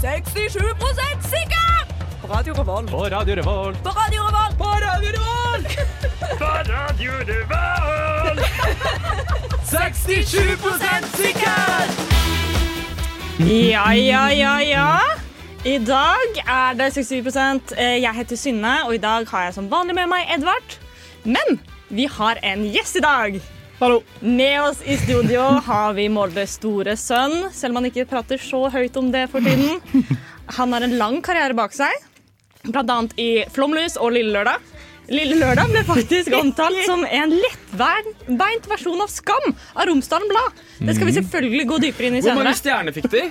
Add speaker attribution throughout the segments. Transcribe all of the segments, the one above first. Speaker 1: 67 sikker! På Radio Revolt.
Speaker 2: På Radio Revolt.
Speaker 1: På Radio Revolt. På Radio Revolt!
Speaker 3: På Radio Revolt!
Speaker 2: 67 sikker!
Speaker 4: Ja, ja, ja, ja. I dag er det 67 Eh, Jeg heter Synne, og i dag har jeg som vanlig med meg Edvard. Men vi har en gjest i dag.
Speaker 2: Hallo.
Speaker 4: Med oss i studio har vi Moldes store sønn, selv om han ikke prater så høyt om det for tiden. Han har en lang karriere bak seg, bl.a. i Flomlys og Lille Lørdag. Lille Lørdag ble faktisk omtalt som en lettbeint versjon av Skam av Romsdalen Blad. Det skal vi selvfølgelig gå dypere inn i
Speaker 5: Mhm. Hvor
Speaker 4: senere.
Speaker 5: mange stjerner fikk de?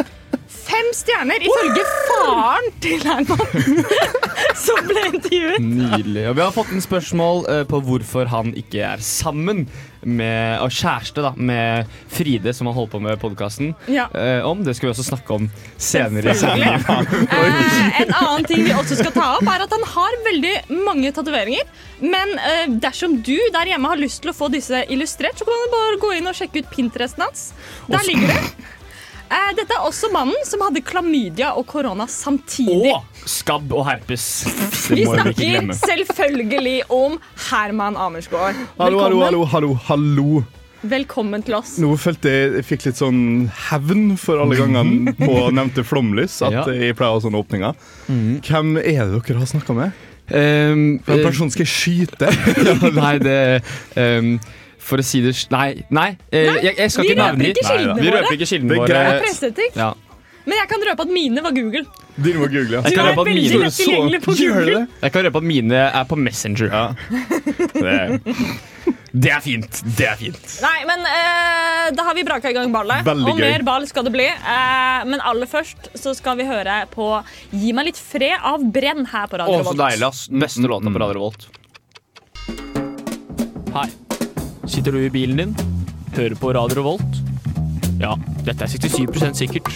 Speaker 4: Fem stjerner ifølge faren til Herman, som ble intervjuet.
Speaker 5: Nydelig. Og vi har fått en spørsmål eh, på hvorfor han ikke er sammen med, og kjæreste da, med Fride, som han holdt på med i podkasten.
Speaker 4: Ja.
Speaker 5: Eh, om. Det skal vi også snakke om senere. i sendingen.
Speaker 4: Eh, en annen ting vi også skal ta opp, er at han har veldig mange tatoveringer. Men eh, dersom du der hjemme har lyst til å få disse illustrert, så kan du bare gå inn og sjekke ut Pinteresten hans. Der ligger det. Eh, dette er også mannen som hadde klamydia og korona samtidig.
Speaker 5: Og skabb og herpes. Ehm, Det
Speaker 4: Vi
Speaker 5: må vi ikke
Speaker 4: snakker
Speaker 5: glemme.
Speaker 4: selvfølgelig om Herman Amersgaard.
Speaker 3: Hallo, hallo,
Speaker 4: Velkommen.
Speaker 3: hallo, hallo, hallo.
Speaker 4: Velkommen til oss.
Speaker 3: Nå følte jeg jeg fikk litt sånn hevn for alle gangene på nevnte flomlys. At
Speaker 5: Ja. Mm.
Speaker 3: jeg pleier å ha sånne åpninger. Hvem er det dere har snakka med?
Speaker 5: Um,
Speaker 3: En person skal jeg skyte.
Speaker 5: ja, nei, det um, For å si det s- Nei, nei, eh, jeg, jeg skal
Speaker 4: vi
Speaker 5: ikke
Speaker 4: røper
Speaker 5: nevne
Speaker 4: ikke
Speaker 5: Nei,
Speaker 4: kildene
Speaker 5: Vi
Speaker 4: våre.
Speaker 5: røper ikke kildene
Speaker 3: Det er
Speaker 5: våre.
Speaker 3: greit.
Speaker 4: Det er presseetikk.
Speaker 5: Ja.
Speaker 4: Men jeg kan røpe at mine var Google.
Speaker 3: Dere må google.
Speaker 5: Jeg
Speaker 4: Du
Speaker 5: kan
Speaker 4: er
Speaker 5: røpe at
Speaker 4: veldig
Speaker 5: mine-
Speaker 4: lett tilgjengelig på
Speaker 3: Gjør
Speaker 4: Google.
Speaker 3: det?
Speaker 5: Jeg kan røpe at mine er på Messenger. Det, det er fint. Det er fint.
Speaker 4: Nei, men eh, da har vi braka i gang ballet.
Speaker 3: Veldig
Speaker 4: og
Speaker 3: gøy.
Speaker 4: mer ball skal det bli. Eh, men aller først så skal vi høre på Gi meg litt fred av Brenn her på Radio Revolt.
Speaker 5: ass. Beste låta på Radio Volt.
Speaker 2: Hei. Sitter du i bilen din? Hører på Radio Revolt? Ja, dette er 67 sikkert.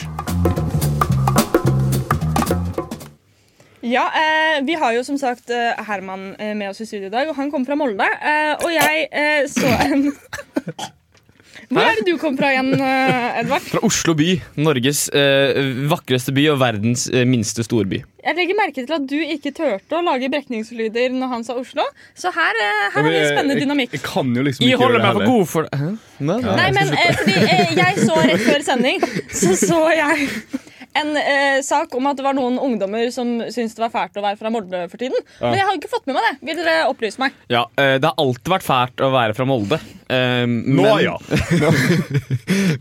Speaker 4: Ja, eh, Vi har jo som sagt eh, Herman eh, med oss i studio i dag, og han kommer fra Molde. eh, og jeg eh, så en Hvor er det du kom fra igjen, eh, Edvard?
Speaker 5: Fra Oslo by. Norges eh, vakreste by og verdens eh, minste storby.
Speaker 4: Jeg legger merke til at du ikke turte å lage brekningslyder når han sa Oslo. Så her, eh, her har vi en spennende dynamikk.
Speaker 3: Jeg, jeg kan jo liksom ikke gjøre det heller.
Speaker 5: god for det.
Speaker 4: Nei, men eh, fordi eh, jeg så rett før sending, så så jeg en eh, sak om at det var noen ungdommer som syntes det var fælt å være fra Molde for tiden. Men jeg har ikke fått med meg det. Vil dere opplyse meg?
Speaker 5: Ja, eh, det har alltid vært fælt å være fra Molde. Eh,
Speaker 3: Nå,
Speaker 5: men-
Speaker 3: ja.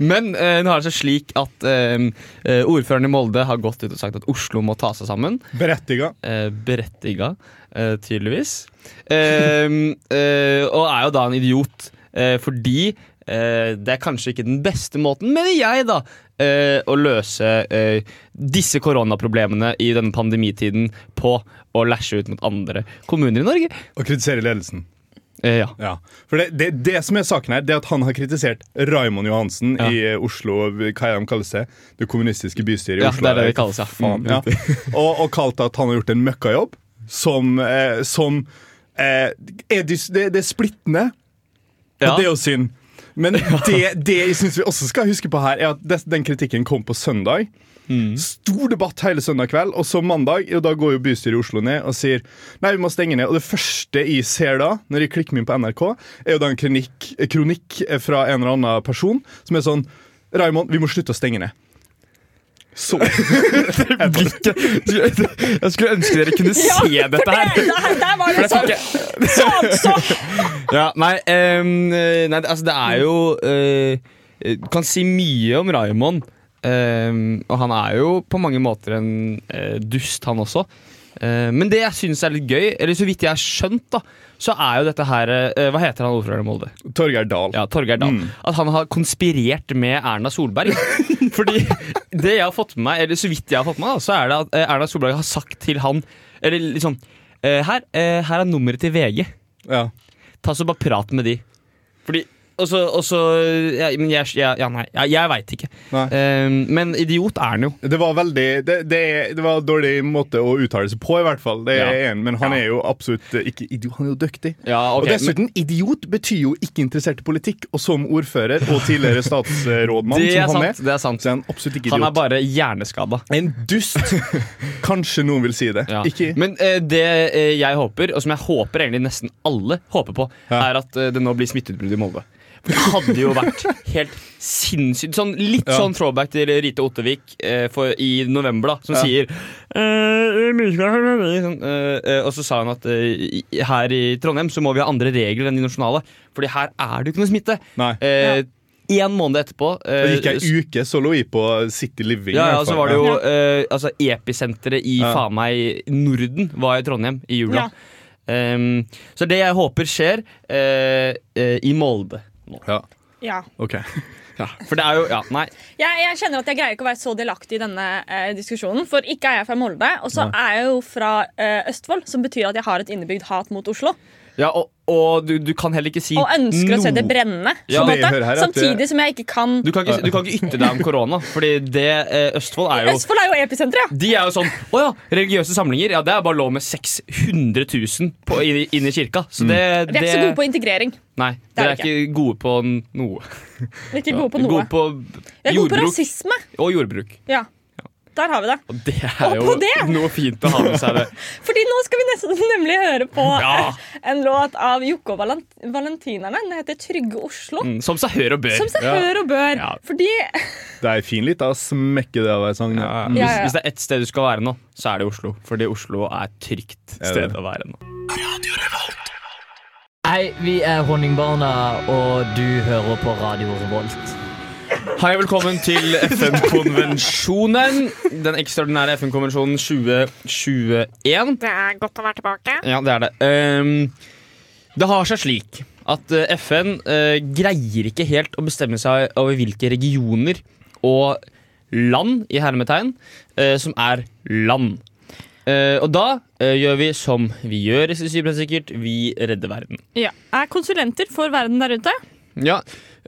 Speaker 5: Men eh, nå er det seg slik at eh, eh, ordføreren i Molde har gått ut og sagt at Oslo må ta seg sammen.
Speaker 3: Berettiga.
Speaker 5: eh, berettiga, eh, tydeligvis. Ehm, eh, og er jo da en idiot, eh, fordi eh, det er kanskje ikke den beste måten, mener jeg, da, eh, å løse eh, disse koronaproblemene i denne pandemitiden på å læsje ut mot andre kommuner i Norge.
Speaker 3: Å kritisere ledelsen.
Speaker 5: Eh, ja.
Speaker 3: Ja. For det, det, det som er saken her, det er at han har kritisert Raimond Johansen
Speaker 5: Ja.
Speaker 3: i eh, Oslo Hva er det de kaller seg? Det kommunistiske bystyret i
Speaker 5: Ja, det
Speaker 3: Oslo.
Speaker 5: Mm, er det
Speaker 3: eller
Speaker 5: det kalles, ja.
Speaker 3: hva Faen, ja. Og, og kalt at han har gjort en møkkajobb som, eh, som eh, er dys, det, det er splittende,
Speaker 5: Ja.
Speaker 3: og det er jo synd. Men det, det jeg syns vi også skal huske på her, er at des- den kritikken kom på søndag.
Speaker 5: Mm.
Speaker 3: Stor debatt hele søndag kveld, og så mandag og da går jo bystyret i Oslo ned og sier nei, vi må stenge ned. Og det første jeg ser da, når jeg klikker meg inn på NRK, er jo da en kronikk, kronikk fra en eller annen person som er sånn Raymond, vi må slutte å stenge ned. Så
Speaker 5: Blikket. Jeg skulle ønske dere kunne se dette her.
Speaker 4: for det, der, der var det
Speaker 5: For
Speaker 4: sånn.
Speaker 5: det
Speaker 4: sånn så.
Speaker 5: Ja, nei, ehm, eh, nei det- altså det er jo eh, eh, Du kan si mye om Raymond. ehm, og han er jo på mange måter en eh, dust, han også. Eh, men det jeg syns er litt gøy, eller så vidt jeg har skjønt, da så er jo dette her eh, Hva heter han ordføreren i Molde?
Speaker 3: Torgeir Dahl.
Speaker 5: Ja, Torgeir Dahl. At han har konspirert med Erna Solberg. Fordi det jeg har fått med meg, eller så vidt jeg har fått med meg, da, så er det at eh, Erna Solberg har sagt til han Eller liksom eh, her, eh, her er nummeret til VG
Speaker 3: Ja.
Speaker 5: ta så bare prat med de. Fordi Og så, og så ja, Men jeg, ja, ja, nei, ja, jeg veit ikke.
Speaker 3: Nei.
Speaker 5: Eh, men idiot er han jo.
Speaker 3: Det var veldig Det, det, er- det var en dårlig måte å uttale seg på, i hvert fall. Det er jeg
Speaker 5: Ja.
Speaker 3: enig, i, men han er jo absolutt eh, ikke idiot. Han er jo dyktig.
Speaker 5: Ja, ok,
Speaker 3: og dessuten, idiot betyr jo ikke interessert i politikk, og som ordfører og tidligere statsrådmann
Speaker 5: Det er
Speaker 3: som han
Speaker 5: sant. Det er sant.
Speaker 3: så er han absolutt ikke idiot.
Speaker 5: Han er bare hjerneskada.
Speaker 3: en dust. Kanskje noen vil si det.
Speaker 5: Ja.
Speaker 3: Ikke
Speaker 5: Men eh, det eh, jeg håper, og som jeg håper egentlig nesten alle håper på,
Speaker 3: Ja.
Speaker 5: er at eh, det nå blir smitteutbrudd i Molde. For det hadde jo vært helt sinnssykt. Sånn, litt
Speaker 3: Ja.
Speaker 5: sånn throwback til Rite Ottevik eh, for, i november, da, som
Speaker 3: Ja.
Speaker 5: sier eh, mye- sånn, eh, eh, Og så sa hun at eh, i- her i Trondheim så må vi ha andre regler enn de nasjonale, Fordi her er det jo ikke noe smitte.
Speaker 3: Nei.
Speaker 5: Eh, En måned etterpå eh,
Speaker 3: Det gikk ei uke, så lå vi på City Living.
Speaker 5: ja,
Speaker 3: i
Speaker 5: ja,
Speaker 3: hvert
Speaker 5: og så
Speaker 3: fall.
Speaker 5: var det jo eh, altså, Episenteret i
Speaker 3: Ja.
Speaker 5: faen meg Norden var i Trondheim i jula.
Speaker 4: Ja.
Speaker 5: Ehm, så det jeg håper skjer eh, eh, i Molde nå.
Speaker 3: Ja.
Speaker 4: Ja.
Speaker 3: Ok.
Speaker 5: For det er jo Ja, nei.
Speaker 4: Jeg, jeg kjenner at jeg greier ikke å være så delaktig i denne eh, diskusjonen. For ikke er jeg fra Molde, og så er jeg jo fra eh, Østfold, som betyr at jeg har et innebygd hat mot Oslo.
Speaker 5: Ja, og, og du, du kan heller ikke si
Speaker 4: Og ønsker å se det
Speaker 5: noe.
Speaker 4: brenne.
Speaker 5: Ja,
Speaker 4: på en
Speaker 3: det jeg
Speaker 4: måte.
Speaker 3: hører her er at det-
Speaker 4: Samtidig som jeg ikke kan
Speaker 5: eh, Du kan, ikke, du kan ikke ytre deg om korona, Fordi det eh, Østfold er jo
Speaker 4: Østfold er jo episenteret, ja!
Speaker 5: de er jo sånn Å ja, religiøse samlinger. Ja, det er bare lov med 600 000 på, inn, i- inn i kirka. Så
Speaker 3: Mm.
Speaker 5: det,
Speaker 4: Vi er ikke så gode på integrering.
Speaker 5: Nei,
Speaker 4: Det
Speaker 5: dere
Speaker 4: er
Speaker 5: er ikke gode på n- noe.
Speaker 4: Vi er ikke gode på noe.
Speaker 5: Gode på
Speaker 4: Vi er gode på
Speaker 5: jordbruk
Speaker 4: rasisme.
Speaker 5: og jordbruk.
Speaker 4: Ja. Der har vi det.
Speaker 5: Og det er
Speaker 4: Og på
Speaker 5: jo
Speaker 4: det!
Speaker 5: noe fint å ha med seg. det
Speaker 4: Fordi nå skal vi nesten nemlig høre på
Speaker 5: Ja.
Speaker 4: en låt av Jokke og Valent Valentinerne. Den heter 'Trygge Oslo'.
Speaker 5: Mm, Som seg hør og bør.
Speaker 4: Som seg hør og bør.
Speaker 5: Ja.
Speaker 4: Fordi
Speaker 3: Det er fin lita smekke det av ei sang.
Speaker 5: Ja,
Speaker 3: Ja.
Speaker 5: Hvis,
Speaker 4: Ja, ja.
Speaker 5: hvis det er ett sted du skal være nå, så er det Oslo. Fordi Oslo er et trygt
Speaker 3: det.
Speaker 5: sted å være nå.
Speaker 6: Hei, vi er Honningbarna, og du hører på Radio Revolt.
Speaker 5: Hei, velkommen til FN-konvensjonen. Den ekstraordinære FN-konvensjonen 2021.
Speaker 4: Det er godt å være tilbake.
Speaker 5: Ja, det er det. Ehm, det har seg slik at eh, FN eh, greier ikke helt å bestemme seg over hvilke regioner og land, i hermetegn, eh, som er land. Eh, og da eh, gjør vi som vi gjør, i Syvende sikkert. Vi redder verden.
Speaker 4: Ja. Er konsulenter for verden der ute.
Speaker 5: Ja,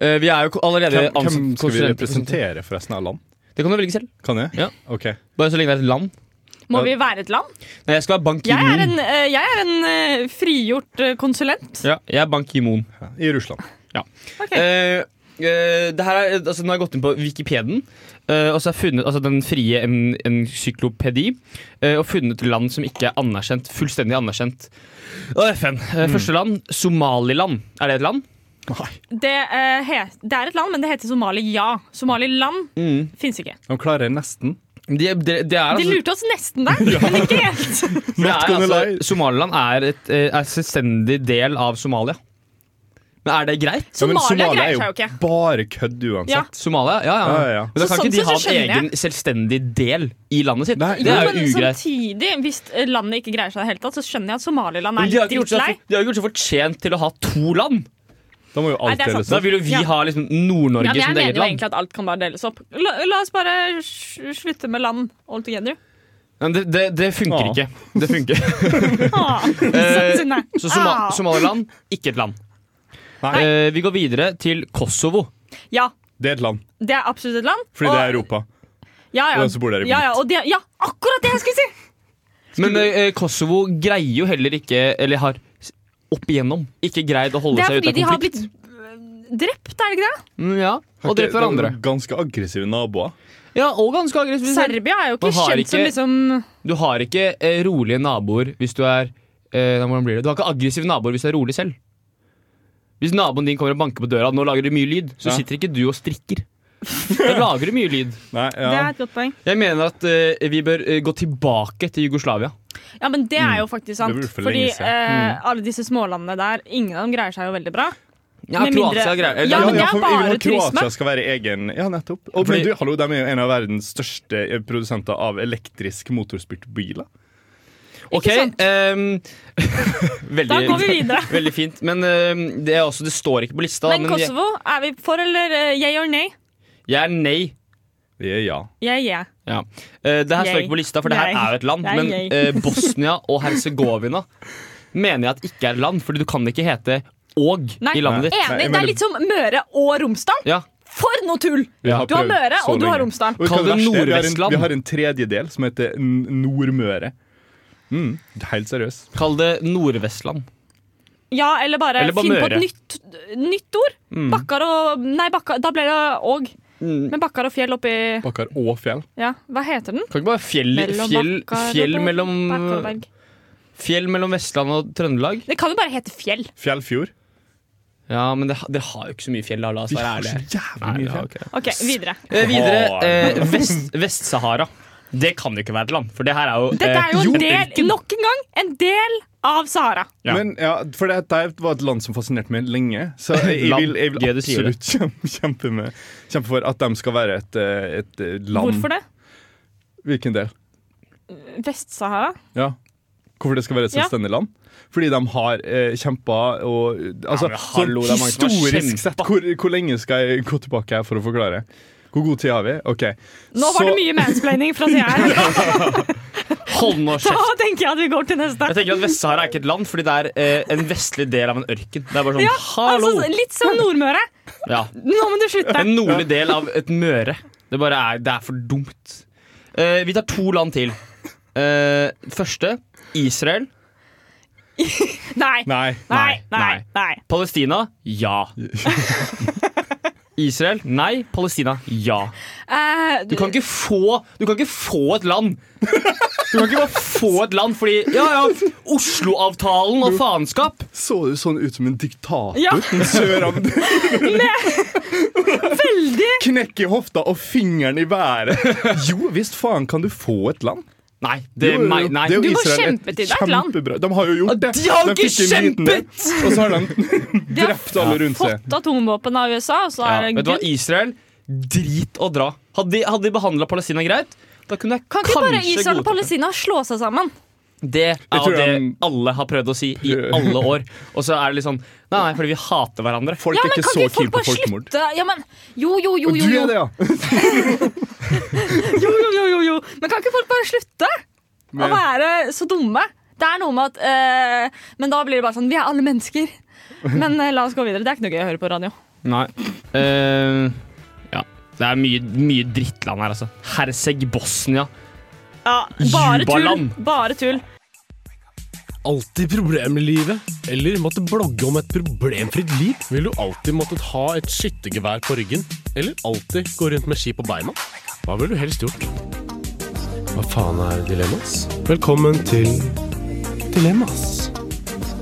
Speaker 5: eh, vi er jo ko- allerede
Speaker 3: Hvem, hvem
Speaker 5: ansatt-
Speaker 3: skal vi
Speaker 5: konsulenter-
Speaker 3: representere forresten av land?
Speaker 5: Det kan du velge selv.
Speaker 3: Kan jeg?
Speaker 5: Ja.
Speaker 3: Ok.
Speaker 5: Bare så lenge det er et land.
Speaker 4: Må vi være et land?
Speaker 5: Nei, jeg skal være Ban
Speaker 4: Jeg er
Speaker 5: Ki-moon.
Speaker 4: en, eh, jeg er en eh, frigjort eh, konsulent.
Speaker 5: Ja, jeg er Ban Ki-moon.
Speaker 3: I Russland.
Speaker 4: Ok.
Speaker 5: Eh, eh, det her er, altså, nå har jeg gått inn på Wikipeden eh, og så har jeg funnet altså, den frie en, encyklopedi. eh, og funnet land som ikke er anerkjent, fullstendig anerkjent. Og FN. Eh,
Speaker 4: Mm.
Speaker 5: Første land, Somaliland. Er det et land?
Speaker 4: Det, eh, he- det er et land, men det heter Somalia. Somaliland fins ikke.
Speaker 3: De klarer nesten.
Speaker 5: Det de, de er
Speaker 4: De
Speaker 5: Mm. altså,
Speaker 4: lurte oss nesten der, men ikke helt.
Speaker 5: det er,
Speaker 3: gonna lie.
Speaker 5: altså Somaliland er et, eh, er et selvstendig del av Somalia. Men er det greit?
Speaker 3: Ja, men
Speaker 4: Somalia greier seg jo ikke.
Speaker 3: bare kødd
Speaker 4: Ja.
Speaker 3: uansett.
Speaker 5: Somalia? Ja, ja.
Speaker 3: Ja, ja, ja.
Speaker 5: Men da
Speaker 4: Så
Speaker 5: kan
Speaker 4: sånn
Speaker 5: ikke de
Speaker 4: sett
Speaker 5: ha
Speaker 4: så
Speaker 5: en
Speaker 4: skjønner jeg.
Speaker 5: egen selvstendig del i landet sitt.
Speaker 3: Nei,
Speaker 5: det
Speaker 4: Jo,
Speaker 5: er jo
Speaker 4: men sånn
Speaker 5: ugreit.
Speaker 4: samtidig, hvis eh, landet ikke greier seg i det hele tatt, så skjønner jeg at Somaliland
Speaker 5: Men
Speaker 4: er
Speaker 5: de har
Speaker 4: litt
Speaker 5: ikke gjort seg,
Speaker 4: dritlei.
Speaker 5: de har ikke gjort seg fortjent til å ha to land.
Speaker 3: Da må jo alt
Speaker 4: Nei, det er sant.
Speaker 3: deles
Speaker 5: Da
Speaker 3: opp.
Speaker 5: vil jo vi
Speaker 4: Ja.
Speaker 5: ha liksom
Speaker 4: Ja,
Speaker 5: Nord-Norge
Speaker 4: men jeg
Speaker 5: som et
Speaker 4: mener
Speaker 5: eget
Speaker 4: jo
Speaker 5: land.
Speaker 4: egentlig at alt kan bare deles opp. La, la oss bare sl- slutte med land all together.
Speaker 5: Men det, det, det funker ikke.
Speaker 3: Ja.
Speaker 5: Det funker.
Speaker 4: Ah,
Speaker 5: Eh,
Speaker 4: sånn, nei.
Speaker 5: Så Soma
Speaker 4: Ah.
Speaker 5: Somaliland, ikke et land.
Speaker 3: Nei.
Speaker 5: Eh, vi går videre til Kosovo.
Speaker 4: Ja,
Speaker 3: Det er et land,
Speaker 4: det er absolutt et land.
Speaker 3: fordi det er Europa.
Speaker 4: ja, ja.
Speaker 3: og den som bor der i
Speaker 4: ja, ja, og det, ja, akkurat det jeg skulle si!
Speaker 5: Men eh, Kosovo greier jo heller ikke, eller har s- opp igjennom ikke greid å holde
Speaker 4: Det er
Speaker 5: seg
Speaker 4: fordi
Speaker 5: ute
Speaker 4: de
Speaker 5: av
Speaker 4: har
Speaker 5: konflikt.
Speaker 4: blitt øh, drept, er det ikke det?
Speaker 5: Mm, ja, Og
Speaker 3: Det-
Speaker 5: drept hverandre.
Speaker 3: det er Ganske aggressive naboer.
Speaker 5: Ja, og ganske aggressivt.
Speaker 4: Serbia er jo ikke
Speaker 5: Man har
Speaker 4: kjent som
Speaker 5: ikke-
Speaker 4: liksom
Speaker 5: Du har ikke eh, rolige naboer hvis du er eh, nei, Hvordan blir det? Du har ikke aggressive naboer hvis du er rolig selv. Hvis naboen din kommer og banker på døra, nå lager du mye lyd, så
Speaker 3: Ja.
Speaker 5: sitter ikke du og strikker. Da lager du mye lyd.
Speaker 3: Nei,
Speaker 4: Det
Speaker 3: ja.
Speaker 4: er et godt poeng.
Speaker 5: Jeg mener at eh, vi bør eh, gå tilbake til Jugoslavia.
Speaker 4: Ja, men det
Speaker 5: Mm.
Speaker 4: er jo faktisk sant.
Speaker 3: Det burde for
Speaker 4: fordi
Speaker 3: lenge siden.
Speaker 4: eh, alle disse smålandene der, ingen av dem greier seg jo veldig bra.
Speaker 5: Ja,
Speaker 4: Med mindre-
Speaker 5: Kroatia greier eller-
Speaker 4: Ja, men det er
Speaker 3: for-
Speaker 4: bare
Speaker 3: når Kroatia
Speaker 4: turisme.
Speaker 3: skal være egen Ja, nettopp. Og,
Speaker 5: Fordi-
Speaker 3: men du, hallo, de er jo en av verdens største eh, produsenter av elektrisk motorspyrte biler.
Speaker 5: Ok,
Speaker 4: sant?
Speaker 5: ehm,
Speaker 4: Da
Speaker 5: veldig,
Speaker 4: går vi videre.
Speaker 5: veldig fint. Men ehm, det, er også, det står ikke på lista.
Speaker 4: Men
Speaker 5: jeg-
Speaker 4: Kosovo, er vi for eller uh, yay or nay?
Speaker 5: Jeg er nei.
Speaker 3: Det er ja.
Speaker 4: Jeg er yeah.
Speaker 5: Ja. Eh, det her står
Speaker 4: Yay.
Speaker 5: ikke på lista, for det her
Speaker 4: Yay.
Speaker 5: er jo et land.
Speaker 4: Yay,
Speaker 5: Men
Speaker 4: yay.
Speaker 5: eh, Bosnia og Herzegovina mener jeg at ikke er et land, fordi du kan ikke hete og
Speaker 4: Nei.
Speaker 5: i landet ditt.
Speaker 4: Enig. Det er litt som Møre og Romsdal.
Speaker 5: Ja.
Speaker 4: For noe tull!
Speaker 3: Vi
Speaker 4: Du har
Speaker 3: prøvd
Speaker 4: Møre,
Speaker 3: så
Speaker 4: og du har
Speaker 3: lenge.
Speaker 4: Romsdal.
Speaker 3: Og vet du
Speaker 5: Kall
Speaker 3: hva
Speaker 5: det
Speaker 3: verste er? Vi har en-
Speaker 5: Nordvestland.
Speaker 3: Vi har en tredjedel som heter N- Nordmøre. Mm, helt seriøst.
Speaker 5: Kall det Nordvestland.
Speaker 4: Ja, eller bare,
Speaker 5: Eller bare
Speaker 4: finn på
Speaker 5: Møre.
Speaker 4: et
Speaker 5: Mm.
Speaker 4: nytt, nytt ord. Bakkar og Nei, bakkar, da ble det Åg. Men Bakkar og fjell oppi
Speaker 3: Bakkar og fjell.
Speaker 4: Ja, hva heter den?
Speaker 5: Kan ikke bare fjell, fjell,
Speaker 4: Bakkar og
Speaker 5: fjell,
Speaker 4: Berg-
Speaker 5: mellom,
Speaker 4: Bakkar og Berg.
Speaker 5: fjell mellom Vestland og Trøndelag?
Speaker 4: Det kan jo bare hete fjell.
Speaker 3: Fjellfjord.
Speaker 5: Ja, men det, ha- dere har jo ikke så mye fjell, da. La oss
Speaker 3: Vi
Speaker 5: være
Speaker 3: har så
Speaker 5: ærlige.
Speaker 3: jævlig
Speaker 5: Nei,
Speaker 3: mye
Speaker 5: ja,
Speaker 3: fjell.
Speaker 5: ok.
Speaker 4: OK, videre.
Speaker 5: Eh, videre.
Speaker 3: Har-
Speaker 5: Eh, Vest- Vest-Sahara. det kan jo ikke være et land, for det her er jo
Speaker 4: Dette er jo
Speaker 5: eh,
Speaker 4: en del, nok en gang, en del av Sahara.
Speaker 5: Ja.
Speaker 3: Men ja, for dette var et land som fascinerte meg lenge. Så jeg, jeg
Speaker 5: Land.
Speaker 3: vil, jeg vil
Speaker 5: Gøy du sier det.
Speaker 3: absolutt kjempe, kjempe, med, kjempe for at de skal være et, eh, et eh, land.
Speaker 4: Hvorfor det?
Speaker 3: Hvilken del?
Speaker 4: Vest-Sahara?
Speaker 3: Ja. Hvorfor det skal være et
Speaker 4: Ja.
Speaker 3: selvstendig land? Fordi de har eh, kjempa og altså,
Speaker 5: men
Speaker 3: sånn
Speaker 5: hallo, det er mange som har
Speaker 3: Historisk
Speaker 5: kjempet.
Speaker 3: sett, hvor, hvor lenge skal jeg gå tilbake her for å forklare? Hvor god tid har vi? OK.
Speaker 4: Nå var det mye mansplaining fra sida her.
Speaker 5: Hold nå
Speaker 4: Da
Speaker 5: kjeft.
Speaker 4: tenker jeg at vi går til neste.
Speaker 5: Jeg tenker at Vest-Sahara er ikke et land, fordi det er eh, en vestlig del av en ørken. Det er bare sånn,
Speaker 4: Ja,
Speaker 5: hallo!
Speaker 4: altså, litt som Nordmøre.
Speaker 5: Ja.
Speaker 4: Nå må du slutte.
Speaker 5: En nordlig del av et Møre. Det bare er, det er for dumt. Eh, vi tar to land til. Eh, første Israel.
Speaker 4: Nei. Nei,
Speaker 3: Nei.
Speaker 4: nei, nei.
Speaker 5: nei. Palestina ja. Israel nei. Palestina ja.
Speaker 4: Eh,
Speaker 5: Du kan ikke få Du kan ikke få et land. Du kan ikke bare få et land fordi Ja, ja, Oslo-avtalen og faenskap.
Speaker 3: Så du sånn ut som en diktator?
Speaker 4: Ja.
Speaker 3: En Søram
Speaker 4: veldig
Speaker 3: knekk i hofta og fingeren i været. Jo visst faen kan du få et land.
Speaker 5: Nei, det,
Speaker 3: Jo, jo, jo.
Speaker 5: nei, nei.
Speaker 3: Det er jo
Speaker 4: Du må
Speaker 3: Israel et
Speaker 4: kjempe til deg et land.
Speaker 3: kjempebra- De har jo gjort det.
Speaker 5: De har jo ikke
Speaker 3: fikk en liten del, Og så har de
Speaker 4: De har
Speaker 3: drept alle rundt seg.
Speaker 4: fått atomvåpen av USA, og så
Speaker 5: Ja,
Speaker 4: er det
Speaker 5: vet du hva,
Speaker 4: gull.
Speaker 5: Israel, drit å dra. Hadde de, hadde de behandla Palestina greit, da kunne jeg
Speaker 4: Kan ikke
Speaker 5: kanskje
Speaker 4: bare Israel og
Speaker 5: godtatt det.
Speaker 4: Palestina slå seg sammen?
Speaker 5: Det er
Speaker 3: tror
Speaker 5: jo det
Speaker 3: han-
Speaker 5: alle har prøvd å si i alle år. Og så er det litt sånn Nei, nei, fordi vi hater hverandre.
Speaker 3: Folk
Speaker 4: Ja,
Speaker 3: er
Speaker 4: men
Speaker 3: ikke
Speaker 4: kan
Speaker 3: så
Speaker 4: ikke
Speaker 3: keen
Speaker 4: folk
Speaker 3: på
Speaker 4: bare
Speaker 3: folkemord.
Speaker 4: slutte? Ja, men, jo, jo, jo,
Speaker 3: Du
Speaker 4: jo, jo.
Speaker 3: er det, ja.
Speaker 4: jo, jo, jo, jo, jo. Men kan ikke folk bare slutte å
Speaker 3: Men-
Speaker 4: være så dumme? Det er noe med at eh, Men da blir det bare sånn Vi er alle mennesker. Men eh, la oss gå videre. Det er ikke noe gøy å høre på radio.
Speaker 5: Nei. Eh, ja. Det er mye, mye drittland her, altså. Herceg Bosnia.
Speaker 4: Ja, bare tull.
Speaker 5: Jubaland.
Speaker 4: Bare tull.
Speaker 7: alltid problemer i livet, eller måtte blogge om et problemfritt liv? Vil du alltid måttet ha et skyttergevær på ryggen, eller alltid gå rundt med ski på beina? Hva ville du helst gjort? Hva faen er dilemmas? Velkommen til Dilemmas.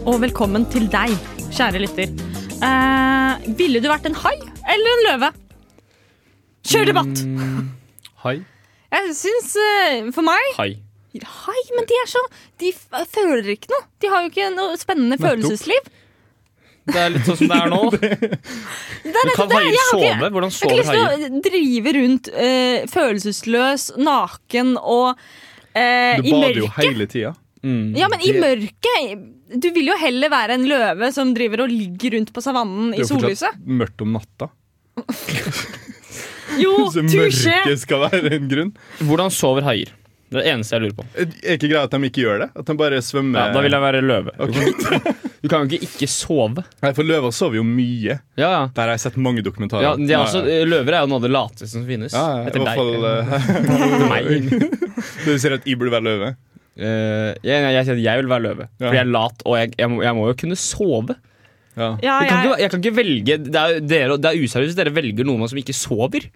Speaker 4: Og velkommen til deg, kjære lytter. Eh, ville du vært en hai eller en løve? Kjør debatt!
Speaker 5: Mm. Hai.
Speaker 4: Mm. Jeg syns eh, For meg
Speaker 5: Hai.
Speaker 4: Hai, men de er så De f føler ikke noe. De har jo ikke noe spennende følelsesliv.
Speaker 5: Det er litt sånn som det er nå.
Speaker 4: Det er
Speaker 5: Du
Speaker 4: nettopp
Speaker 5: kan
Speaker 4: det.
Speaker 5: haier
Speaker 4: Jeg har ikke-
Speaker 5: sove. Hvordan
Speaker 4: Jeg har
Speaker 5: sover
Speaker 4: ikke
Speaker 5: haier?
Speaker 4: lyst til å drive rundt eh, følelsesløs, naken og eh,
Speaker 3: Du
Speaker 4: i
Speaker 3: bader jo
Speaker 4: mørket.
Speaker 3: hele tida.
Speaker 5: Mm.
Speaker 4: Ja, men i mørket Du vil jo heller være en løve som driver og ligger rundt på savannen i
Speaker 3: Det er jo
Speaker 4: sollyset.
Speaker 3: fortsatt mørkt om natta.
Speaker 4: Jo,
Speaker 3: Så
Speaker 4: tusje!
Speaker 3: mørket skal være en grunn.
Speaker 5: Hvordan sover haier? Det er det eneste jeg lurer på.
Speaker 3: Er ikke greia at de ikke gjør det? At de bare svømmer
Speaker 5: Ja, da vil jeg være løve. Du kan jo ikke ikke sove.
Speaker 3: Nei, For løver sover jo mye.
Speaker 5: Ja, ja.
Speaker 3: Der har jeg sett mange dokumentarer.
Speaker 5: Ja, de er også,
Speaker 3: ja, ja.
Speaker 5: Løver er jo noe av det lateste som finnes.
Speaker 3: Ja, ja, i
Speaker 5: Etter
Speaker 3: hvert
Speaker 5: deg.
Speaker 3: fall eh,
Speaker 5: Etter meg.
Speaker 3: Du sier at jeg burde være løve?
Speaker 5: Eh, jeg, jeg, jeg sier at jeg vil være løve,
Speaker 3: Ja.
Speaker 5: fordi jeg er lat og jeg, jeg, må, jeg må jo kunne sove.
Speaker 3: Ja.
Speaker 4: Ja,
Speaker 5: Jeg kan
Speaker 4: jeg,
Speaker 5: ikke, jeg kan ikke velge Det er, jo- dere, det er useriøst. Dere velger noen som ikke sover.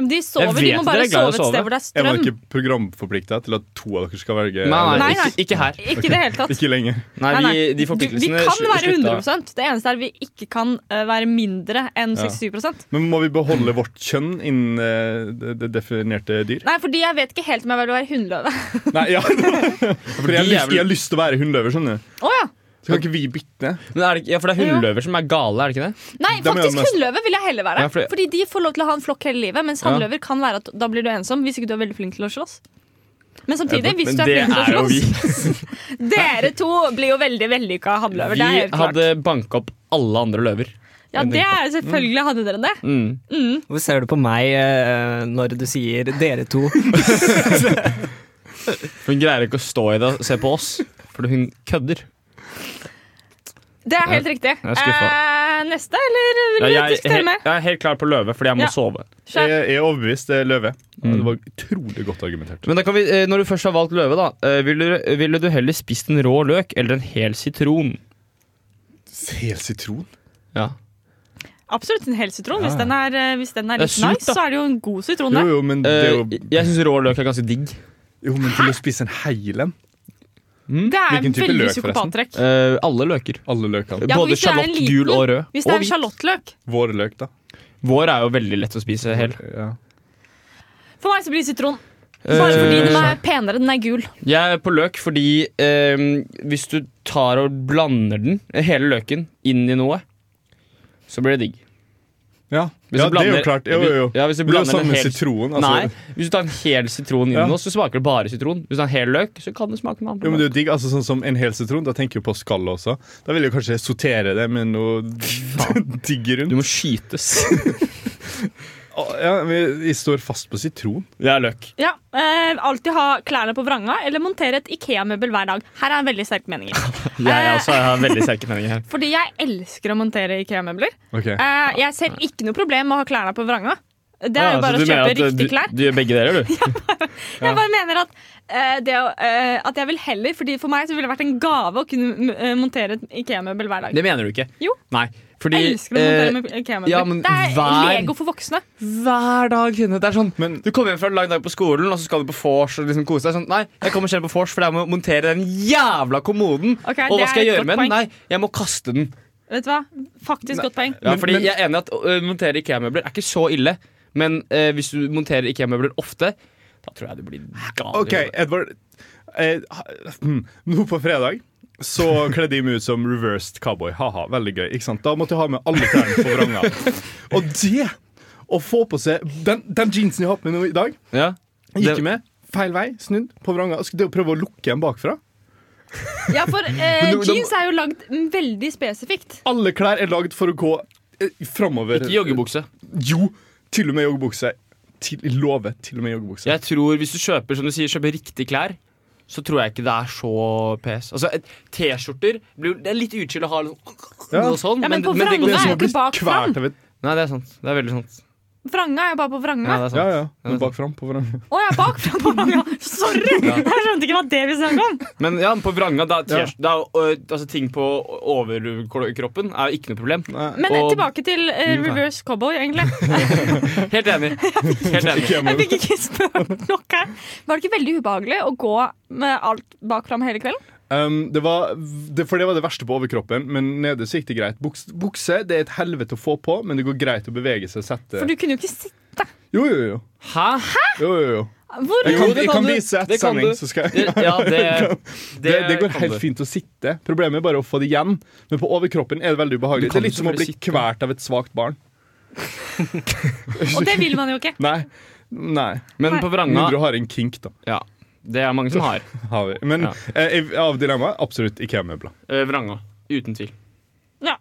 Speaker 4: men de sover. De
Speaker 5: vet
Speaker 4: må
Speaker 5: dere
Speaker 4: bare
Speaker 5: er glad i å
Speaker 4: sove et
Speaker 5: sove.
Speaker 4: sted hvor det er
Speaker 3: Jeg var
Speaker 4: strøm.
Speaker 3: ikke programforplikta til at to av dere skal velge
Speaker 5: Nei, nei,
Speaker 4: Nei, nei.
Speaker 5: Ikke, ikke her.
Speaker 4: Ikke i det hele tatt.
Speaker 3: Ikke lenger.
Speaker 5: Nei,
Speaker 4: Nei, nei.
Speaker 5: Vi, de
Speaker 4: Du- vi
Speaker 5: forpliktelsene
Speaker 4: kan
Speaker 5: slu-
Speaker 4: være
Speaker 5: slutta.
Speaker 4: 100 Det eneste er vi ikke kan eh, være mindre enn
Speaker 3: Ja.
Speaker 4: 67
Speaker 3: Men må vi beholde vårt kjønn innen eh, det- det definerte dyr?
Speaker 4: Nei, fordi jeg vet ikke helt om jeg vil være hundløve.
Speaker 3: Nei, ja For
Speaker 5: de
Speaker 3: jeg har,
Speaker 5: er
Speaker 3: lyst,
Speaker 5: vel-
Speaker 3: jeg har lyst til å være hundløver, skjønner du.
Speaker 4: Å ja.
Speaker 3: Så kan ikke vi bytte?
Speaker 5: Men er det, ikke- ja, for det er hundløver som er gale, er det ikke det?
Speaker 4: Nei,
Speaker 3: Dem er jo
Speaker 4: faktisk
Speaker 3: mest-
Speaker 4: hundløve vil jeg heller være.
Speaker 5: Ja, fordi-
Speaker 4: Fordi de får lov til å ha en flokk hele livet, mens hannløver kan være at da blir du ensom hvis ikke du er veldig flink til å slåss. Men samtidig, hvis
Speaker 5: Men
Speaker 4: du er
Speaker 5: det
Speaker 4: flink til
Speaker 5: er
Speaker 4: å
Speaker 5: jo vi.
Speaker 4: slåss Dere to blir jo veldig vellykka hannløver. Det er
Speaker 5: Vi
Speaker 4: helt klart.
Speaker 5: hadde banka opp alle andre løver.
Speaker 4: Ja, det er selvfølgelig hadde dere det.
Speaker 5: Mm.
Speaker 6: Hvorfor ser du på meg eh, når du sier 'dere to'?
Speaker 5: Hun greier ikke å stå i det og se på oss, for hun kødder.
Speaker 4: Det er helt riktig.
Speaker 5: jeg er skuffa.
Speaker 4: Eh, neste, eller vil du
Speaker 5: Ja, jeg,
Speaker 4: diskutere
Speaker 5: he,
Speaker 4: mer?
Speaker 5: jeg er helt klar på løve, fordi jeg må
Speaker 4: Ja.
Speaker 5: sove.
Speaker 4: Kjør.
Speaker 3: Jeg er overbevist. Det er løve.
Speaker 5: Mm.
Speaker 3: Det var utrolig godt argumentert.
Speaker 5: Men da kan vi, eh, Når du først har valgt løve, da eh, ville du, ville du heller spist en rå løk eller en hel sitron?
Speaker 3: Hel sitron?
Speaker 5: Ja.
Speaker 4: Absolutt en hel sitron. Hvis den er, eh, hvis den er
Speaker 5: Det er
Speaker 4: litt
Speaker 5: surt,
Speaker 4: nice,
Speaker 5: da.
Speaker 4: så er det jo en god sitron.
Speaker 3: Jo,
Speaker 4: det.
Speaker 3: jo, men det er
Speaker 5: Eh,
Speaker 3: jo,
Speaker 5: jeg syns rå løk er ganske digg.
Speaker 3: jo, men til å spise en heil en
Speaker 4: Det er
Speaker 3: Hvilken type
Speaker 4: veldig
Speaker 3: løk, forresten?
Speaker 4: psykopattrekk.
Speaker 5: Eh, alle løker.
Speaker 3: Alle løkene.
Speaker 4: Ja, men
Speaker 5: Både
Speaker 4: hvis det er en
Speaker 5: sjalott,
Speaker 4: liten-
Speaker 5: gul og rød.
Speaker 4: Hvis det er
Speaker 5: og
Speaker 4: en
Speaker 5: hvit.
Speaker 4: sjalottløk.
Speaker 3: Vår løk, da.
Speaker 5: Vår er jo veldig lett å spise hel.
Speaker 3: Ja.
Speaker 4: For meg så blir det sitron. Bare fordi
Speaker 5: Eh,
Speaker 4: den er penere. Den er gul.
Speaker 5: Jeg er på løk fordi eh, hvis du tar og blander den, hele løken, inn i noe, så blir det digg.
Speaker 3: Ja.
Speaker 5: Hvis
Speaker 3: ja,
Speaker 5: du
Speaker 3: det er jo
Speaker 5: blander-
Speaker 3: klart. Jo, jo, jo.
Speaker 5: Ja, hvis du
Speaker 3: det er jo
Speaker 5: blander en
Speaker 3: samme
Speaker 5: hel-
Speaker 3: sitron. Altså.
Speaker 5: Nei, hvis du tar en hel sitron inn i
Speaker 3: Ja.
Speaker 5: noe, så smaker det bare sitron. Hvis du tar en hel løk, så kan det smake med
Speaker 3: Jo,
Speaker 5: andre.
Speaker 3: men det er
Speaker 5: løk.
Speaker 3: jo digg, altså sånn som En hel sitron, da tenker jeg jo på skallet også. Da vil jeg kanskje sortere det med noe digg rundt.
Speaker 5: Du må skytes.
Speaker 3: Å, Ja, men jeg står fast på sitron.
Speaker 5: Det er løk.
Speaker 4: Ja, eh, Alltid ha klærne på vranga eller montere et Ikea-møbel hver dag. Her er en veldig sterk mening.
Speaker 5: Jeg, jeg også har veldig sterke meninger her.
Speaker 4: Fordi jeg elsker å montere Ikea-møbler.
Speaker 3: Ok.
Speaker 4: Eh, jeg ser ikke noe problem med å ha klærne på vranga. Det er
Speaker 5: Ah,
Speaker 4: jo
Speaker 5: så
Speaker 4: bare å
Speaker 5: du mener
Speaker 4: kjøpe
Speaker 5: at, eh,
Speaker 4: riktige klær.
Speaker 5: Du, du gjør begge deler, du.
Speaker 4: Jeg bare mener at, eh, det, å- eh, at jeg vil heller Fordi For meg så ville det vært en gave å kunne m- eh, montere et Ikea-møbel hver dag.
Speaker 5: Det mener du ikke.
Speaker 4: Jo.
Speaker 5: Nei, fordi
Speaker 4: Jeg elsker å montere
Speaker 5: eh,
Speaker 4: med Ikea-møbler.
Speaker 5: ja, men
Speaker 4: det er
Speaker 5: hver-
Speaker 4: Lego for voksne.
Speaker 5: hver dag Trine. Det er sånn
Speaker 3: Men-
Speaker 5: Du kommer hjem fra en lang dag på skolen, og så skal du på vors og liksom kose deg. Sånn, nei, jeg kommer selv på vors, for jeg må montere den jævla kommoden.
Speaker 4: Ok,
Speaker 5: og
Speaker 4: det
Speaker 5: hva skal
Speaker 4: er
Speaker 5: jeg
Speaker 4: et
Speaker 5: gjøre
Speaker 4: godt
Speaker 5: med den?
Speaker 4: poeng.
Speaker 5: Nei, jeg må kaste den.
Speaker 4: Vet du hva? Faktisk godt poeng.
Speaker 5: Ja,
Speaker 3: Men-
Speaker 5: fordi
Speaker 3: men-
Speaker 5: jeg er enig i at å ø, montere IKEA-møbler er ikke så ille. Men eh, hvis du monterer IKEA-møbler ofte, da tror jeg du blir gal. i
Speaker 3: OK,
Speaker 5: hodet.
Speaker 3: Edvard. Eh, ha- hmm. nå på fredag så kledde jeg meg ut som reversed cowboy. Ha-ha, veldig gøy. ikke sant? Da måtte jeg ha med alle klærne på vranga. Og det å få på seg den, den jeansen jeg har på meg nå i dag,
Speaker 5: Ja.
Speaker 3: gikk
Speaker 5: Det-
Speaker 3: jeg med feil vei, snudd på vranga. Skulle det å prøve å lukke en bakfra?
Speaker 4: Ja, for eh,
Speaker 5: Men du-
Speaker 4: jeans er jo lagd veldig spesifikt.
Speaker 3: Alle klær er lagd for å gå eh, framover.
Speaker 5: Ikke joggebukse.
Speaker 3: Jo, til og med joggebukse. Til, jeg lover, til og med joggebukse.
Speaker 5: Jeg tror Hvis du kjøper som du sier, kjøper riktige klær, så tror jeg ikke det er så pes. Altså, et- T-skjorter blir jo- Det er litt utskill å ha liksom,
Speaker 3: Ja.
Speaker 5: og sånn,
Speaker 4: Ja, men på
Speaker 5: det
Speaker 4: vranga
Speaker 5: går
Speaker 4: er
Speaker 5: så-
Speaker 4: jo ikke bak fram.
Speaker 3: Kvært av et
Speaker 5: Nei, det er sant. Det er veldig sant.
Speaker 4: Vranga er jo bare på vranga.
Speaker 5: Ja, det er sant.
Speaker 3: Ja, ja.
Speaker 5: det er
Speaker 3: Men bak fram på vranga.
Speaker 4: Å, jeg er bakfra på vranga! Sorry! Jeg skjønte ikke hva det vi snakket om.
Speaker 5: Men ja, på vranga, da,
Speaker 3: Ja.
Speaker 5: t- da, ø, altså, ting på overkroppen er jo ikke noe problem.
Speaker 3: Nei.
Speaker 4: Men eh,
Speaker 5: Og- Mm,
Speaker 4: tilbake til eh, reverse cowboy, egentlig.
Speaker 5: Helt enig. Helt enig.
Speaker 4: Jeg fikk ikke spurt nok her. Var det ikke veldig ubehagelig å gå med alt bakfra med hele kvelden?
Speaker 3: Um, det var, det, for det var det verste på overkroppen, men nede så gikk det greit. Buks, bukse det er et helvete å få på, men det går greit å bevege seg. Sette.
Speaker 4: For du kunne jo ikke sitte.
Speaker 3: Jo, jo, jo.
Speaker 5: Hæ?
Speaker 3: jo, jo, jo.
Speaker 4: Hvor
Speaker 3: Jeg kan,
Speaker 5: det
Speaker 3: jeg
Speaker 5: kan
Speaker 3: kan
Speaker 5: du.
Speaker 3: vise et
Speaker 5: Det kan
Speaker 3: sending,
Speaker 5: du.
Speaker 3: så skal jeg
Speaker 5: Det- Ja, det, det,
Speaker 3: det, det går
Speaker 5: kan
Speaker 3: helt
Speaker 5: du.
Speaker 3: fint å sitte. Problemet er bare å få det igjen. Men på overkroppen er det veldig
Speaker 5: Du
Speaker 3: ubehagelig. Det
Speaker 5: kan
Speaker 3: er litt
Speaker 5: jo
Speaker 3: som å bli
Speaker 5: selvfølgelig sitte.
Speaker 3: kvalt av et svakt barn.
Speaker 4: Og det vil man jo ikke.
Speaker 3: Nei. Nei.
Speaker 5: Men på
Speaker 3: Med mindre
Speaker 5: Vranga
Speaker 3: du har en kink, da.
Speaker 5: ja, Det er mange som har.
Speaker 3: Har vi. Men
Speaker 5: Ja.
Speaker 3: eh, i- av dilemmaet absolutt IKEA-møbler.
Speaker 5: eh, Vranga. Uten tvil.
Speaker 4: Ja.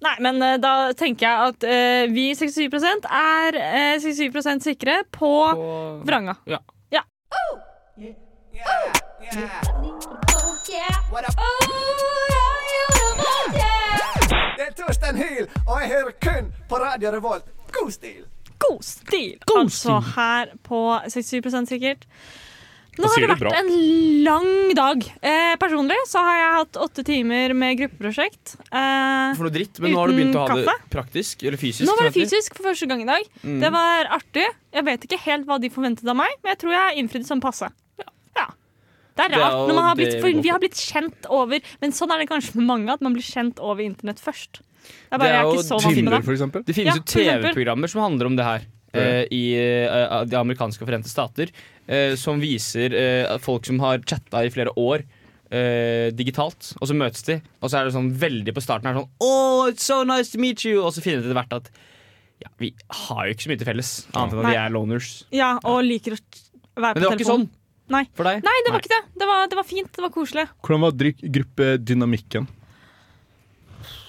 Speaker 4: Nei, men eh, da tenker jeg at eh, vi 67 er eh, 67 sikre på vranga.
Speaker 5: Ja.
Speaker 8: Det er Torsten Hyl, og jeg hører kun på Radio Revolt. God stil!
Speaker 4: God stil, altså her på 67 sikkert. Nå
Speaker 3: Da
Speaker 4: har
Speaker 3: sier
Speaker 4: det
Speaker 3: du
Speaker 4: vært
Speaker 3: bra.
Speaker 4: en lang dag. Eh, personlig så har jeg hatt åtte timer med gruppeprosjekt. Eh,
Speaker 5: For noe dritt, men nå har du begynt å ha det
Speaker 4: kaffe?
Speaker 5: praktisk. Eller fysisk. Mm.
Speaker 4: Nå var det
Speaker 5: som heter.
Speaker 4: fysisk for første gang i dag. Det var artig. Jeg vet ikke helt hva de forventet av meg, men jeg tror jeg innfridde som passe. Ja. Det er
Speaker 5: er
Speaker 4: rart, når man har
Speaker 5: jo
Speaker 4: blitt,
Speaker 5: det vi
Speaker 4: for
Speaker 5: går
Speaker 4: vi har blitt kjent over Men sånn er det kanskje med mange, at man blir kjent over internett først. Det er
Speaker 5: Det
Speaker 4: bare
Speaker 5: er
Speaker 4: jeg er
Speaker 5: jo
Speaker 4: ikke så vant med
Speaker 3: Tinder,
Speaker 4: det.
Speaker 3: for eksempel.
Speaker 5: Det finnes
Speaker 4: Ja,
Speaker 5: jo
Speaker 4: for eksempel.
Speaker 5: TV-programmer som handler om det her. eh, I eh, de amerikanske og forente stater. eh, som viser eh, at folk som har chatta i flere år. eh, digitalt, og så møtes de, og så er det sånn veldig på starten her sånn Oh, it's so nice to meet you! Og så finner de etter hvert at ja, vi har jo ikke så mye til felles, annet enn at vi
Speaker 4: Nei.
Speaker 5: er loners.
Speaker 4: Ja, og liker å være på
Speaker 5: Men det var ikke sånn
Speaker 4: telefonen. Nei.
Speaker 5: for deg?
Speaker 4: Nei, det var ikke det. Det var, det var fint. Det var koselig.
Speaker 3: Hvordan var dryk- gruppedynamikken?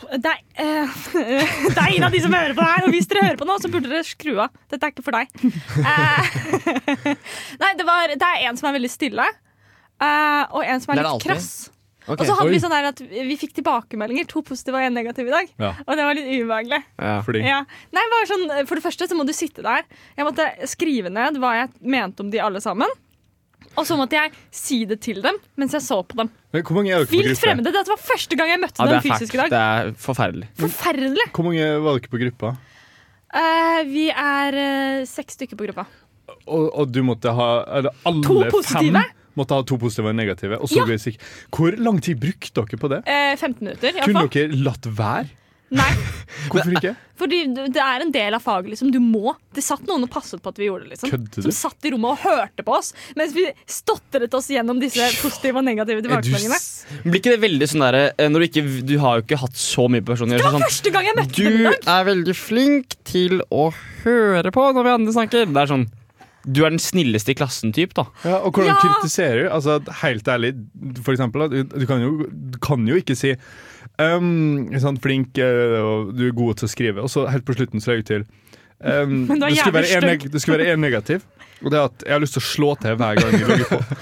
Speaker 4: Det er, eh, det er en av de som hører på det her, og hvis dere hører på nå, så burde dere skru av. Dette er ikke for deg. Eh, nei, det, var, det er en som er veldig stille, eh, og en som er litt
Speaker 5: Det er det alltid.
Speaker 4: krass. Og
Speaker 5: Ok.
Speaker 4: så hadde
Speaker 7: Oi.
Speaker 4: vi sånn der at vi fikk tilbakemeldinger, to positive og én negativ i dag.
Speaker 3: Ja.
Speaker 4: Og det var litt ubehagelig.
Speaker 5: Ja.
Speaker 3: Fordi
Speaker 4: Ja. Nei, bare sånn, for det første så må du sitte der. Jeg måtte skrive ned hva jeg mente om de alle sammen. Og så måtte jeg si det til dem mens jeg så på dem.
Speaker 3: Men Hvor mange er dere på
Speaker 4: Vilt
Speaker 3: gruppa?
Speaker 4: fremmede. Dette var første gang jeg møtte
Speaker 5: Ja, det
Speaker 4: dem
Speaker 5: er fælt.
Speaker 4: fysisk i dag.
Speaker 5: Det er forferdelig.
Speaker 4: Forferdelig!
Speaker 3: Hvor mange var dere på gruppa?
Speaker 4: Eh, vi er eh, seks stykker på gruppa.
Speaker 3: Og, og du måtte ha eller alle
Speaker 4: To positive?
Speaker 3: fem måtte ha to positive og en negative. Og så
Speaker 4: Ja.
Speaker 3: ble det sikk- Hvor lang tid brukte dere på det?
Speaker 4: Eh, 15 minutter,
Speaker 3: Kunne
Speaker 4: iallfall.
Speaker 3: dere latt være?
Speaker 4: Nei,
Speaker 3: Hvorfor ikke?
Speaker 4: fordi det er en del av faget. liksom, Du må. Det satt noen og passet på at vi gjorde det. liksom.
Speaker 3: Kødder du?
Speaker 4: Som satt i rommet og hørte på oss mens vi stotret oss gjennom disse positive og negative
Speaker 5: Er du
Speaker 4: tilbakemeldingene.
Speaker 5: s- Blir ikke det veldig sånn derre eh, når du ikke Du har jo ikke hatt så mye personlig
Speaker 4: Det var
Speaker 5: sånn,
Speaker 4: første gang jeg møtte dem i
Speaker 5: Du
Speaker 4: dag!
Speaker 5: er veldig flink til å høre på når vi andre snakker. Det er sånn Du er den snilleste i klassen-type, da.
Speaker 3: Ja, og hvordan
Speaker 4: Ja.
Speaker 3: kritiserer du? Altså, helt ærlig, for eksempel, at du, du, kan jo, du kan jo ikke si «Ehm, sånn flink, eh, og du er god til å skrive, og så helt på slutten så legger du til «Ehm,
Speaker 4: Men du er
Speaker 3: det, skulle være en,
Speaker 4: jævlig
Speaker 3: neg- det skulle være en negativ, og det er at jeg har lyst til å slå til hver gang jeg logger på.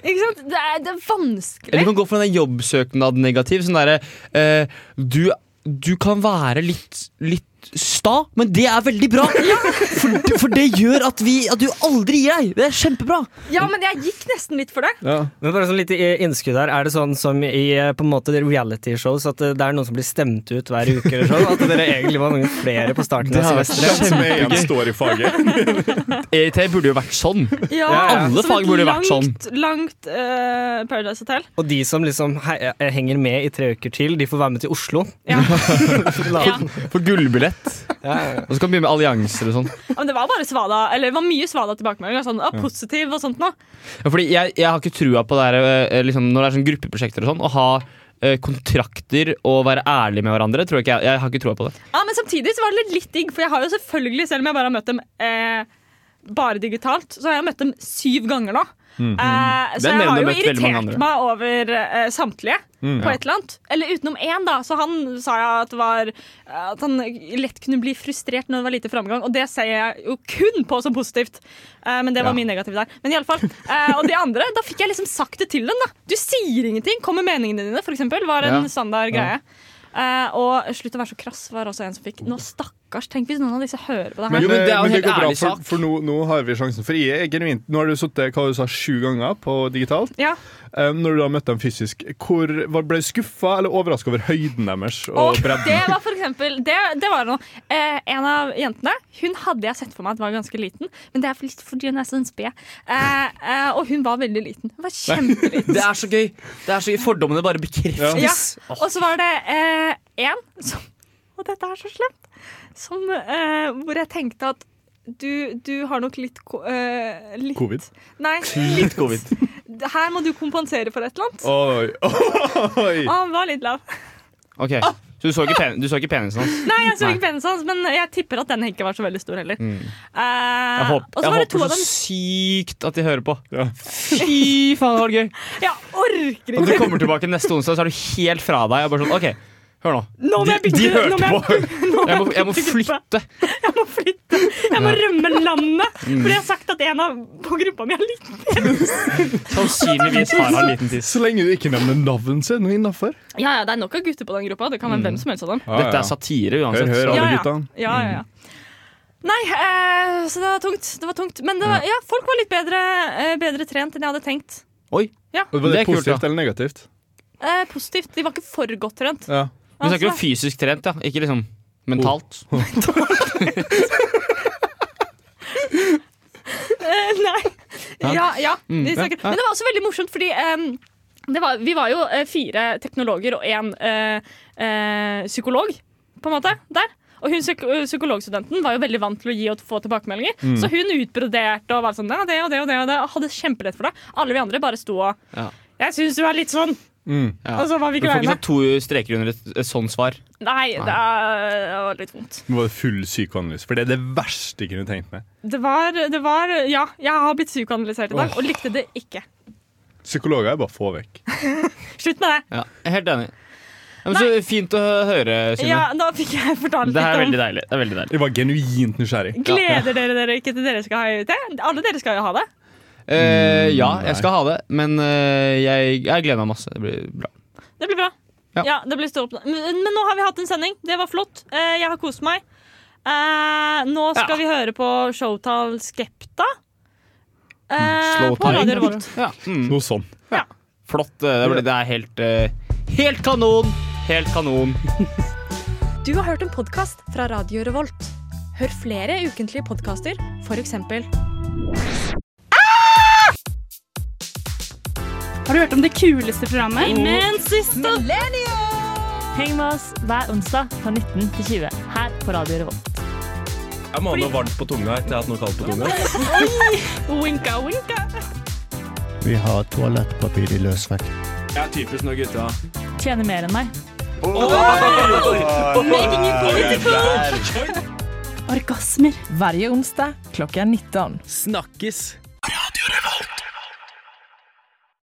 Speaker 4: Ikke sant? Det er, det er vanskelig.
Speaker 5: Eller du kan gå for den der jobbsøknad-negativ. Sånn derre eh, du, du kan være litt, litt sta, men det er veldig bra! For, for det gjør at, vi, at du aldri gir deg! Det er kjempebra!
Speaker 4: Ja, men jeg gikk nesten litt for det.
Speaker 3: Ja.
Speaker 9: Men bare sånn litt i- innskudd her. Er det sånn som i eh, på en måte de realityshows at eh, det er noen som blir stemt ut hver uke eller sånn? At dere egentlig var noen flere på starten av semesteret?
Speaker 3: Hvem som er igjen står i faget.
Speaker 5: EIT E burde jo vært sånn.
Speaker 9: ja.
Speaker 5: Alle
Speaker 4: som et
Speaker 5: fag burde vært sånn.
Speaker 4: langt, Langt eh, Paradise Hotel.
Speaker 9: Og de som liksom he eh, henger med i tre uker til, de får være med til Oslo.
Speaker 4: Ja. ja.
Speaker 5: For gullbillett. Og så kan vi begynne med allianser og sånn.
Speaker 4: Ja, Men det var bare svada, eller det var mye svada tilbakemeldinger. Sånn, ah, positiv og sånt noe.
Speaker 5: Ja, fordi jeg, jeg har ikke trua på det her, eh, liksom, når det er sånn gruppeprosjekter og sånn, å ha eh, kontrakter og være ærlig med hverandre. Tror jeg, ikke, jeg, jeg har ikke trua på det.
Speaker 4: Ja, men samtidig så var det litt digg, for jeg har jo selvfølgelig, selv om jeg bare har møtt dem eh, bare digitalt, så har jeg møtt dem syv ganger nå.
Speaker 5: Mhm.
Speaker 4: Eh,
Speaker 5: Det
Speaker 4: så
Speaker 5: er mer
Speaker 4: jeg har jo
Speaker 5: enn du har møtt veldig mange
Speaker 4: irritert
Speaker 5: andre.
Speaker 4: meg over eh, samtlige
Speaker 3: Mm.
Speaker 4: på et eller annet. Eller utenom én, da. Så han sa jeg at, det var, eh, at han lett kunne bli frustrert når det var lite framgang, og det ser jeg jo kun på som positivt. Eh, men det var
Speaker 5: Ja.
Speaker 4: min negative der. Men i alle fall, eh, Og de andre, da fikk jeg liksom sagt det til dem, da. Du sier ingenting. Kom med meningene dine, for eksempel, var en
Speaker 5: Ja.
Speaker 4: standard greie. Eh, og slutt å være så krass var også en som fikk. Nå stakkars, tenk hvis noen av disse hører på det her.
Speaker 5: Jo, men det er jo en helt
Speaker 3: eh, går bra,
Speaker 5: ærlig
Speaker 3: for,
Speaker 5: sak.
Speaker 3: for nå, nå har vi sjansen. For jeg er genuint, nå har du sittet hva du sa, sju ganger på digitalt.
Speaker 4: Ja.
Speaker 3: Eh, når du da møtte dem fysisk, hvor, var- ble du skuffa eller overraska over høyden deres? Og
Speaker 4: Og det var for eksempel Det, det var noe. Eh, en av jentene Hun hadde jeg sett for meg at var ganske liten, men det er litt fordi hun er sånn sped. Eh, eh, og hun var veldig liten. Hun var kjempeliten.
Speaker 5: Det er så gøy. Det er så gøy. Fordommene bare bekreftes.
Speaker 4: Ja. Og så var det eh, en som Og dette er så slemt. Som, eh, hvor jeg tenkte at du, du har nok litt, ko- eh, litt
Speaker 3: Covid.
Speaker 4: Nei, litt Her må du kompensere for et eller annet.
Speaker 3: Oi, oi.
Speaker 5: Ah.
Speaker 4: Og han var litt lav.
Speaker 5: Ok, Så du så ikke, pen, du så ikke penisen hans?
Speaker 4: Nei, jeg så
Speaker 5: Nei. Mm.
Speaker 4: ikke penisen hans, men jeg tipper at den ikke var så veldig stor heller. Eh,
Speaker 5: Jeg, håp,
Speaker 4: og så
Speaker 5: jeg
Speaker 4: var det to
Speaker 5: håper
Speaker 4: av
Speaker 5: så
Speaker 4: dem
Speaker 5: sykt at de hører på.
Speaker 3: Ja.
Speaker 5: Fy faen, det var gøy!
Speaker 4: Jeg orker
Speaker 5: Og
Speaker 4: ikke!
Speaker 5: du kommer tilbake neste onsdag, så er du helt fra deg. Jeg bare sånn, ok, hør nå.
Speaker 4: Nå må jeg bytte
Speaker 5: de
Speaker 4: nå må
Speaker 5: hørte
Speaker 4: jeg- nå må
Speaker 5: Jeg må, jeg må
Speaker 4: bytte gruppe.
Speaker 5: flytte.
Speaker 4: Jeg må flytte. Jeg må rømme landet.
Speaker 5: Mm.
Speaker 4: For jeg har sagt at en av på gruppa mi er liten.
Speaker 5: Sannsynligvis har han liten tiss.
Speaker 3: Så lenge du ikke nevner navn, så er det noe innafor.
Speaker 4: Ja, ja, Det er nok av gutter på den gruppa. Det kan
Speaker 5: Mm.
Speaker 4: være hvem som helst av
Speaker 3: Ah,
Speaker 4: dem.
Speaker 5: Dette er satire uansett.
Speaker 3: Hør, hør,
Speaker 5: så-
Speaker 3: alle
Speaker 4: ja.
Speaker 3: gutta.
Speaker 4: Ja, ja,
Speaker 5: Mm.
Speaker 4: ja. Nei, eh, så det var tungt. Det var tungt. Men det var, ja, folk var litt bedre, eh, bedre trent enn jeg hadde tenkt.
Speaker 5: Oi.
Speaker 3: Og Var
Speaker 5: Det
Speaker 3: det,
Speaker 5: er kult,
Speaker 3: positivt
Speaker 5: da.
Speaker 3: eller negativt?
Speaker 4: Eh, positivt. De var ikke for godt trent.
Speaker 3: Ja.
Speaker 5: Vi snakker
Speaker 4: Altså-
Speaker 5: om fysisk trent, ja. Ikke liksom mentalt.
Speaker 4: Eh, nei. Ja, ja. Vi snakker.
Speaker 5: Mm. ja, ja.
Speaker 4: Men det var også veldig morsomt, fordi em, det var, vi var jo eh, fire teknologer og én psykolog, på en måte, der. Og hun psyk øh, psykologstudenten var jo veldig vant til å gi og få tilbakemeldinger.
Speaker 5: Mm.
Speaker 4: Så hun utbroderte og var sånn, ja, det og det og det, og det, og hadde kjempelett for det. Alle vi andre bare sto og
Speaker 5: Ja.
Speaker 4: Jeg syns du er litt sånn!
Speaker 3: Mm.
Speaker 5: Ja.
Speaker 4: Og så var vi
Speaker 5: Du får ikke
Speaker 4: kleine.
Speaker 5: sånn to streker under et, et sånn svar.
Speaker 4: Nei, det er- det var litt vondt.
Speaker 3: Nå var det full psykoanalyse, for det er det verste jeg kunne tenkt meg.
Speaker 4: Det var, det var Ja, jeg har blitt psykoanalysert i dag, og likte det ikke.
Speaker 3: Psykologer er bare få vekk.
Speaker 4: Slutt med det.
Speaker 5: Ja, jeg er helt enig. Ja, men så fint å høre, Synne.
Speaker 4: Ja, da fikk jeg fortalt
Speaker 5: Det her
Speaker 4: litt om
Speaker 5: er veldig deilig. Det er veldig deilig.
Speaker 3: Jeg var genuint nysgjerrig.
Speaker 4: Gleder dere dere ikke til dere skal ha IUT? Alle dere skal jo ha det.
Speaker 5: Eh, ja,
Speaker 3: nei.
Speaker 5: jeg skal ha det, men eh, jeg, jeg gleder meg masse. Det blir bra.
Speaker 4: Det blir bra.
Speaker 5: Ja.
Speaker 4: Ja. det blir stor oppnå- men, men nå har vi hatt en sending. Det var flott. Eh, jeg har kost meg. Eh, nå skal vi høre på Showtall Skepta. Eh,
Speaker 3: Slå
Speaker 4: på Radio Revolt.
Speaker 5: Ja.
Speaker 3: Noe sånn.
Speaker 5: Flott. eh, Det, blir, det er helt, eh, helt kanon! Helt kanon.
Speaker 10: Du har hørt en podkast fra Radio Revolt. Hør flere ukentlige podkaster, f.eks.
Speaker 11: Har du hørt om det kuleste programmet?
Speaker 4: Amen, siste!
Speaker 11: Heng med oss hver onsdag fra 19 til 20 her på Radio Revolt.
Speaker 12: Jeg må ha noe varmt på tunga etter jeg har hatt noe kaldt på tunga.
Speaker 4: Winka, winka.
Speaker 13: Vi har toalettpapir i løsvekt.
Speaker 12: Jeg er typisk når gutta
Speaker 11: Tjener mer enn meg.
Speaker 12: Making
Speaker 11: it political. Orgasmer.
Speaker 14: Varje onsdag klockan 19.
Speaker 15: Snackis.